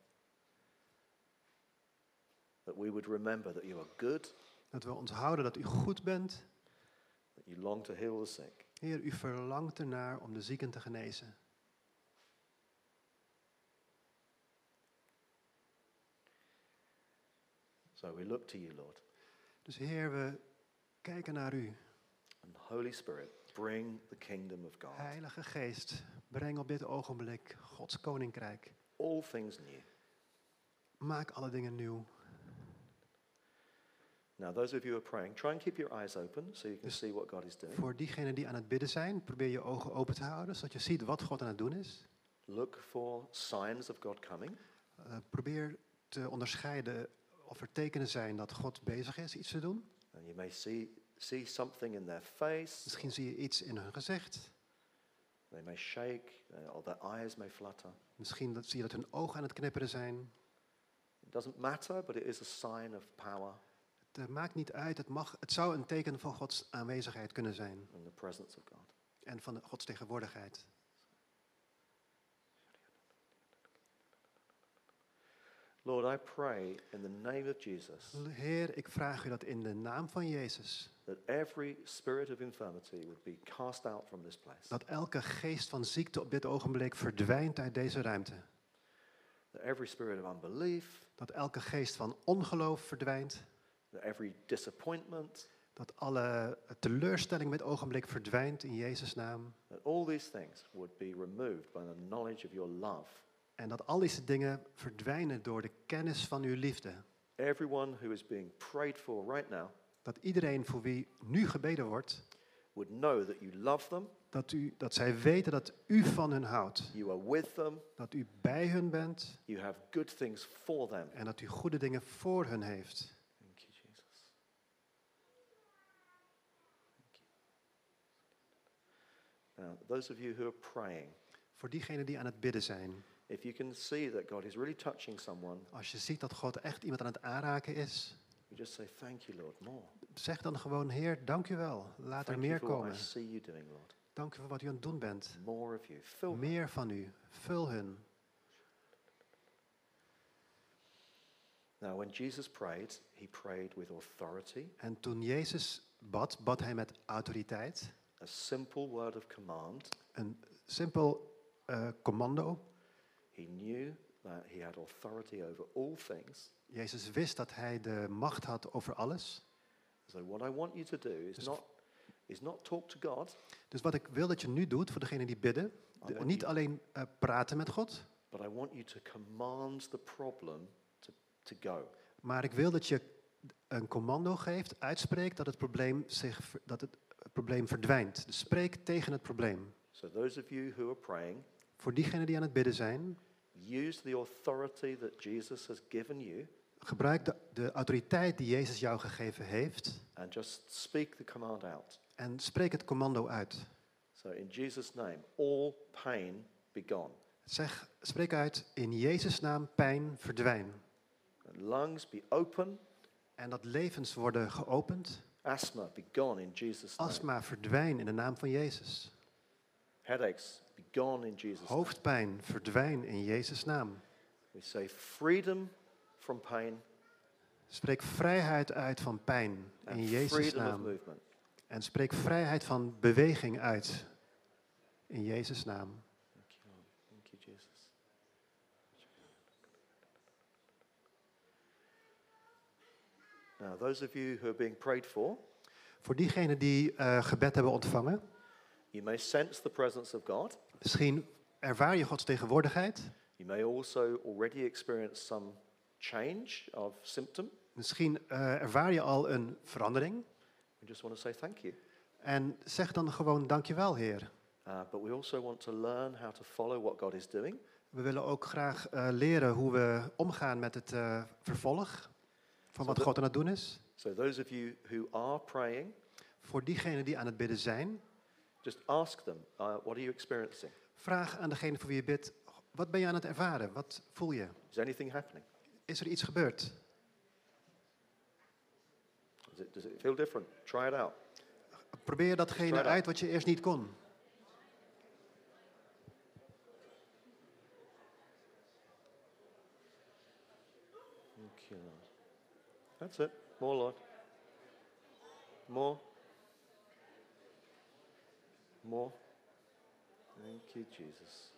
That we would remember that you are good, Dat we onthouden dat u goed bent. that you long to heal the sick. Heer, u verlangt ernaar om de zieken te genezen. So we look to you, Lord. Dus Heer, we kijken naar u. And Holy Spirit, bring the kingdom of God. Heilige Geest, breng op dit ogenblik Gods koninkrijk. All things new. maak alle dingen nieuw. Now, those of you who are praying, try and keep your eyes open so you can see what God is doing. Voor diegenen die aan het bidden zijn, probeer je ogen open te houden, zodat je ziet wat God aan het doen is. Look for signs of God coming. Eh, probeer te onderscheiden of er tekenen zijn dat God bezig is iets te doen. And you may see, see something in their face. Misschien zie je iets in hun gezicht. They may shake, uh, or their eyes may flutter. Misschien dat, zie je dat hun ogen aan het knipperen zijn. It doesn't matter, but it is a sign of power Het eh, maakt niet uit, het, mag, het zou een teken van Gods aanwezigheid kunnen zijn. and the presence of God. En van de Gods tegenwoordigheid. Lord, I pray in the name of Jesus Heer, ik vraag u dat in de naam van Jezus. that every spirit of infirmity would be cast out from this place, Dat elke geest van ziekte op dit ogenblik verdwijnt uit deze ruimte. that every spirit of unbelief, Dat elke geest van ongeloof verdwijnt. that every disappointment, Dat alle teleurstelling met ogenblik verdwijnt in Jezus' naam. that all these things would be removed by the knowledge of your love. En dat al deze dingen verdwijnen door de kennis van uw liefde. Everyone who is being prayed for right now Dat iedereen voor wie nu gebeden wordt, would know that you love them, dat, u, dat zij weten dat u van hun houdt. you are with them, Dat u bij hun bent you have good things for them. en dat u goede dingen voor hun heeft. Thank you, Jesus. Thank you. Now, those of you who are praying, Voor diegenen die aan het bidden zijn. if you can see that God is really touching someone, Als je ziet dat God echt iemand aan het aanraken is, you just say, Thank you, Lord, more. zeg dan gewoon, Heer, dank u wel. Laat er Thank you meer for what I komen. see you doing, Lord. Dank u voor wat u aan het doen bent. More of you. Fill me. Meer van u. Vul hun. Now, when Jesus prayed, he prayed with authority, En toen Jezus bad, bad hij met autoriteit. a simple word of command. Een simpel eh, commando. He knew that he had authority over all things. Jezus wist dat hij de macht had over alles. So, what I want you to do is Dus- not, is not talk to God, Dus wat ik wil dat je nu doet voor degenen die bidden, de- wordt niet die- alleen eh, praten met God, But I want you to command the problem to, to go. maar ik wil dat je een commando geeft, uitspreekt dat het probleem, zich, ver- dat het probleem verdwijnt. Dus spreek tegen het probleem. So, those of you who are praying, Voor diegenen die aan het bidden zijn, use the authority that Jesus has given you gebruik de, de autoriteit die Jezus jou gegeven heeft and just speak the command out. en spreek het commando uit. So, in Jesus' name, all pain be gone, Zeg, spreek uit, in Jezus' naam pijn verdwijn. and lungs be open, En dat levens worden geopend, asthma be gone in Jesus' name, astma verdwijn in de naam van Jezus. headaches be gone in Jesus' name. Hoofdpijn, verdwijn in Jezus' naam. We say freedom from pain Spreek vrijheid uit van pijn in and Jezus' freedom of naam. movement. En spreek vrijheid van beweging uit in Jezus' naam. Thank you, Lord. Thank you, Jesus. Now, those of you who are being prayed for, Voor diegenen die eh, gebed hebben ontvangen, you may sense the presence of God. misschien ervaar je Gods tegenwoordigheid. You may also already experience some change of symptom. Misschien eh, ervaar je al een verandering. We just want to say thank you. En zeg dan gewoon dankjewel, Heer. Uh, but we also want to learn how to follow what God is doing. We willen ook graag eh, leren hoe we omgaan met het eh, vervolg van wat Zodat- God aan het doen is. So, those of you who are praying, Voor diegenen die aan het bidden zijn, just ask them, uh, What are you experiencing? Vraag aan degene voor wie je bidt, wat ben je aan het ervaren? Wat voel je? Is anything happening? Is er iets gebeurd? Is it, does it feel different? Try it out. Probeer Try datgene it out. uit wat je eerst niet kon. Thank you, Lord. That's it. More, Lord. More. More. Thank you, Jesus.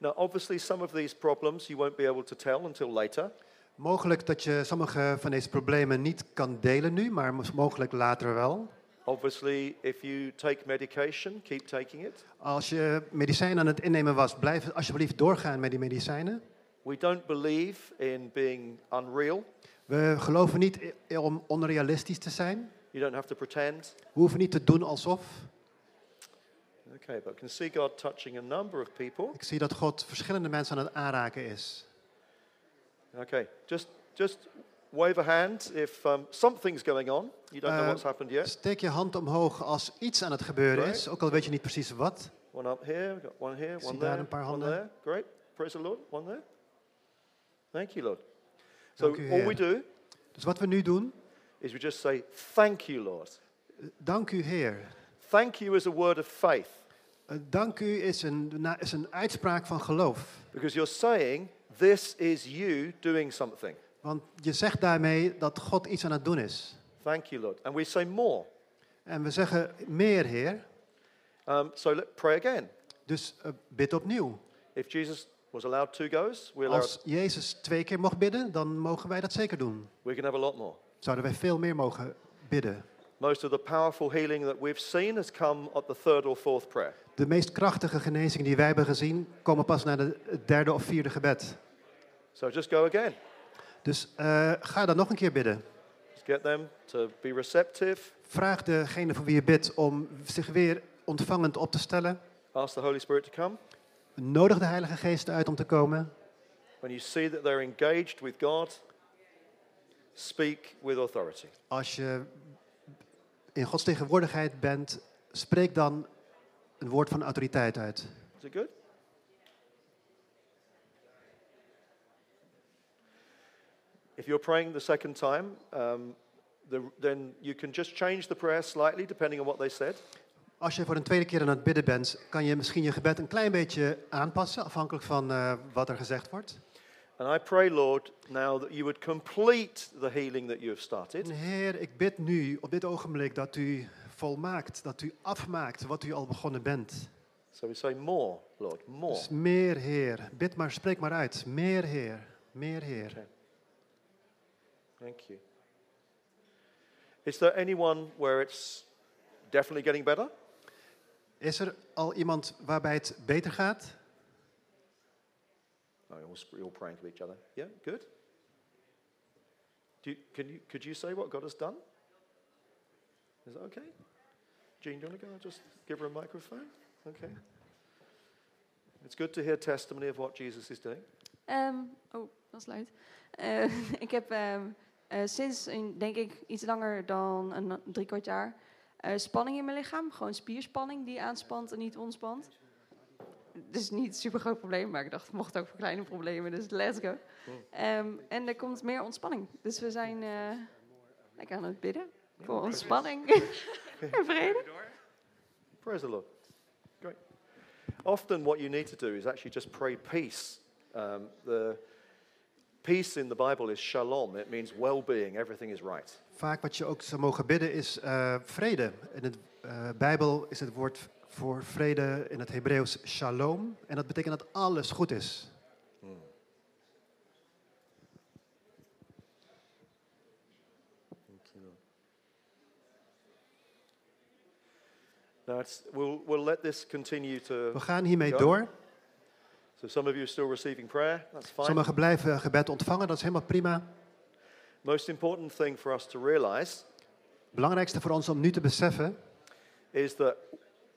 Now, obviously, some of these problems you won't be able to tell until later. Mogelijk dat je sommige van deze problemen niet kan delen nu, maar mos- mogelijk later wel. Obviously, if you take medication, keep taking it. Als je medicijnen aan het innemen was, blijf alsjeblieft doorgaan met die medicijnen. We don't believe in being unreal. We geloven niet i- om onrealistisch te zijn. You don't have to pretend. We hoeven niet te doen alsof. Okay, but I can see God touching a number of people. Ik zie dat God verschillende mensen aan het aanraken is. Okay, just just wave a hand if um, something's going on. You don't know Uh, what's happened yet. Steek je hand omhoog als iets aan het gebeuren is, ook al weet je niet precies wat. One up here, we've got one here, zie one daar there, een paar one handen. there. Great, praise the Lord. One there. Thank you, Lord. So Dank u, all we Heer. do Dus wat we nu doen, is we just say, "Thank you, Lord." dank u Heer. Thank you is a word of faith Eh, Dank u is een, na- is een uitspraak van geloof. because you're saying, "This is you doing something." Want je zegt daarmee dat God iets aan het doen is. Thank you, Lord. And we say more. En we zeggen meer Heer, Um, so let, pray again. dus eh, bid opnieuw. If Jesus was allowed two goes, we allow, Als Jezus twee keer mocht bidden, dan mogen wij dat zeker doen. we can have a lot more. Zouden wij veel meer mogen bidden. Most of the powerful healing that we've seen has come at the third or fourth prayer. De meest krachtige genezingen die wij hebben gezien, komen pas na de- het derde of vierde gebed. So just go again. Dus eh, ga dan nog een keer bidden. Just get them to be receptive. Vraag degene voor wie je bidt om zich weer ontvangend op te stellen. Ask the Holy Spirit to come. Nodig de Heilige Geest uit om te komen. When you see that they're engaged with God, speak with authority. Als je in Gods tegenwoordigheid bent, spreek dan een woord van autoriteit uit. Is it good? If you're praying the second time, um, the, then you can just change the prayer slightly depending on what they said. Als je voor een tweede keer aan het bidden bent, kan je misschien je gebed een klein beetje aanpassen, afhankelijk van eh, wat er gezegd wordt. And I pray, Lord, now that you would complete the healing that you have started. En Heer, ik bid nu op dit ogenblik dat u volmaakt, dat u afmaakt wat u al begonnen bent. So we say, More, Lord, more. Dus meer Heer, bid maar, spreek maar uit. Meer Heer, meer Heer. Thank you. Is there anyone where it's definitely getting better? Is er al iemand waarbij het beter gaat? Oh, you're all sp- you're all praying to each other. Yeah, good. Do you, can you, could you say what God has done? Is that okay? Jean, do you want to go? Just give her a microphone. Okay. It's good to hear testimony of what Jesus is doing. Ehm, oh, dat is luid. Eh, ik heb ehm, eh, sinds, een- denk ik, iets langer dan een drie kwart jaar eh, spanning in mijn lichaam. Gewoon spierspanning die aanspant en niet ontspant. Het is niet een super groot probleem, maar ik dacht, het mocht ook voor kleine problemen, dus let's go. Ehm, en er komt meer ontspanning. Dus we zijn eh, lekker aan het bidden voor ontspanning en vrede. Praise the Lord. Great. Often, what you need to do is actually just pray peace. Um, the peace in the Bible is shalom. It means well-being. Everything is right. Vaak wat je ook zou mogen bidden is eh, vrede. In de Bijbel is het woord voor vrede in het Hebreeuws shalom. En dat betekent dat alles goed is. Now, it's, we'll we'll let this continue We to. gaan hiermee Ja. door. So, some of you are still receiving prayer. That's fine. Sommigen blijven gebed ontvangen, dat is helemaal prima. Most important thing for us to realize belangrijkste voor ons om nu te beseffen is that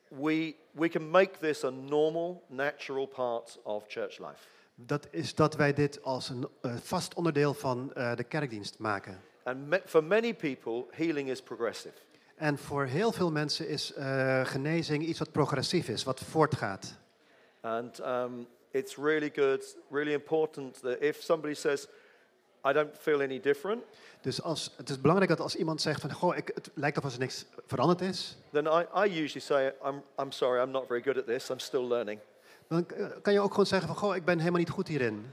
we we can make this a normal, natural part of church life, dat is dat wij dit als een eh, vast onderdeel van eh, de kerkdienst maken. and me, for many people, healing is progressive. En voor heel veel mensen is eh, genezing iets wat progressief is, wat voortgaat. And um, it's really good, really important that if somebody says, I don't feel any different, Dus als, het is belangrijk dat als iemand zegt van, goh, ik, het lijkt alsof er niks veranderd is, then I, I usually say, I'm, I'm sorry, I'm not very good at this, I'm still learning. dan k- eh, kan je ook gewoon zeggen van, goh, ik ben helemaal niet goed hierin.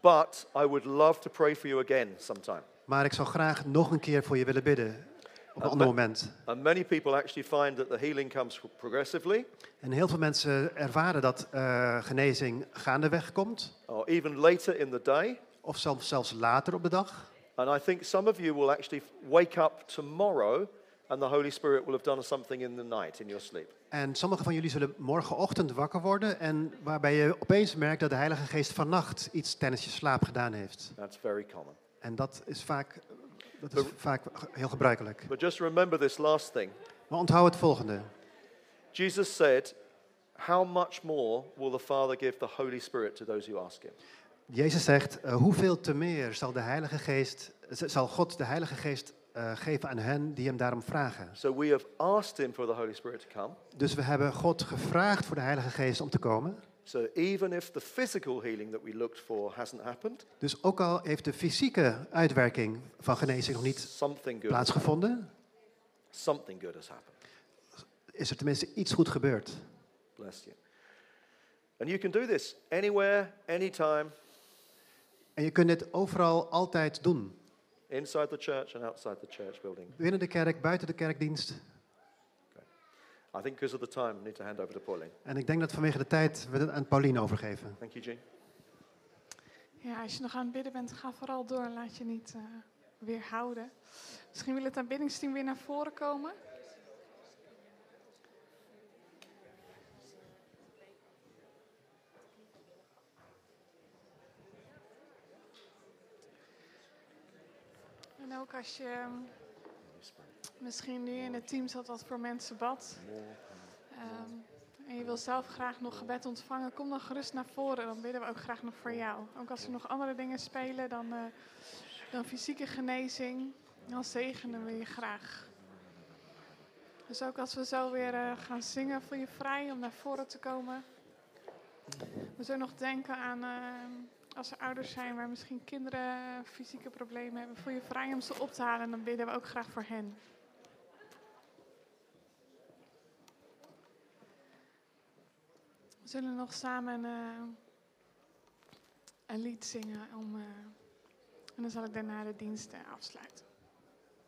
But I would love to pray for you again sometime. Maar ik zou graag nog een keer voor je willen bidden, op een Eh, ander maar- moment. And many people actually find that the healing comes progressively En heel veel mensen ervaren dat eh, genezing gaandeweg komt, or even later in the day. of zelfs, zelfs later op de dag. And I think some of you will actually wake up tomorrow and the Holy Spirit will have done something in the night, in your sleep. En sommigen van jullie zullen morgenochtend wakker worden en waarbij je opeens merkt dat de Heilige Geest vannacht iets tijdens je slaap gedaan heeft. That's very common. En dat is vaak, dat is vaak ge- heel gebruikelijk. But just remember this last thing Maar onthoud het volgende. Jesus said, How much more will the Father give the Holy Spirit to those who ask Him? Jezus zegt, eh, hoeveel te meer zal, de Heilige Geest, z- zal God de Heilige Geest eh, geven aan hen die hem daarom vragen. So we have asked Him for the Holy Spirit to come. Dus we hebben God gevraagd voor de Heilige Geest om te komen. So even if the physical healing that we looked for hasn't happened, Dus ook al heeft de fysieke uitwerking van genezing nog niet something good, plaatsgevonden, something good has happened. is er tenminste iets goed gebeurd. Bless you. And you can do this anywhere, anytime, En je kunt dit overal altijd doen. inside the church and outside the church building. Binnen de kerk, buiten de kerkdienst. I think because of the time, I need to hand over to Pauline. En ik denk dat vanwege de tijd we het aan Pauline overgeven. Thank you, Jean. Ja, als je nog aan het bidden bent, ga vooral door. Laat je niet eh, weerhouden. Misschien wil het aanbiddingsteam weer naar voren komen. En ook als je ehm, misschien nu in het team zat wat voor mensen bad. Ehm, en je wil zelf graag nog gebed ontvangen, kom dan gerust naar voren. Dan bidden we ook graag nog voor jou. Ook als er nog andere dingen spelen dan, eh, dan fysieke genezing, dan zegenen we je graag. Dus ook als we zo weer eh, gaan zingen, voel je vrij om naar voren te komen. We zullen nog denken aan eh, als er ouders zijn waar misschien kinderen fysieke problemen hebben. Voel je vrij om ze op te halen en dan bidden we ook graag voor hen. We zullen nog samen eh, een lied zingen om, eh, en dan zal ik daarna de diensten afsluiten.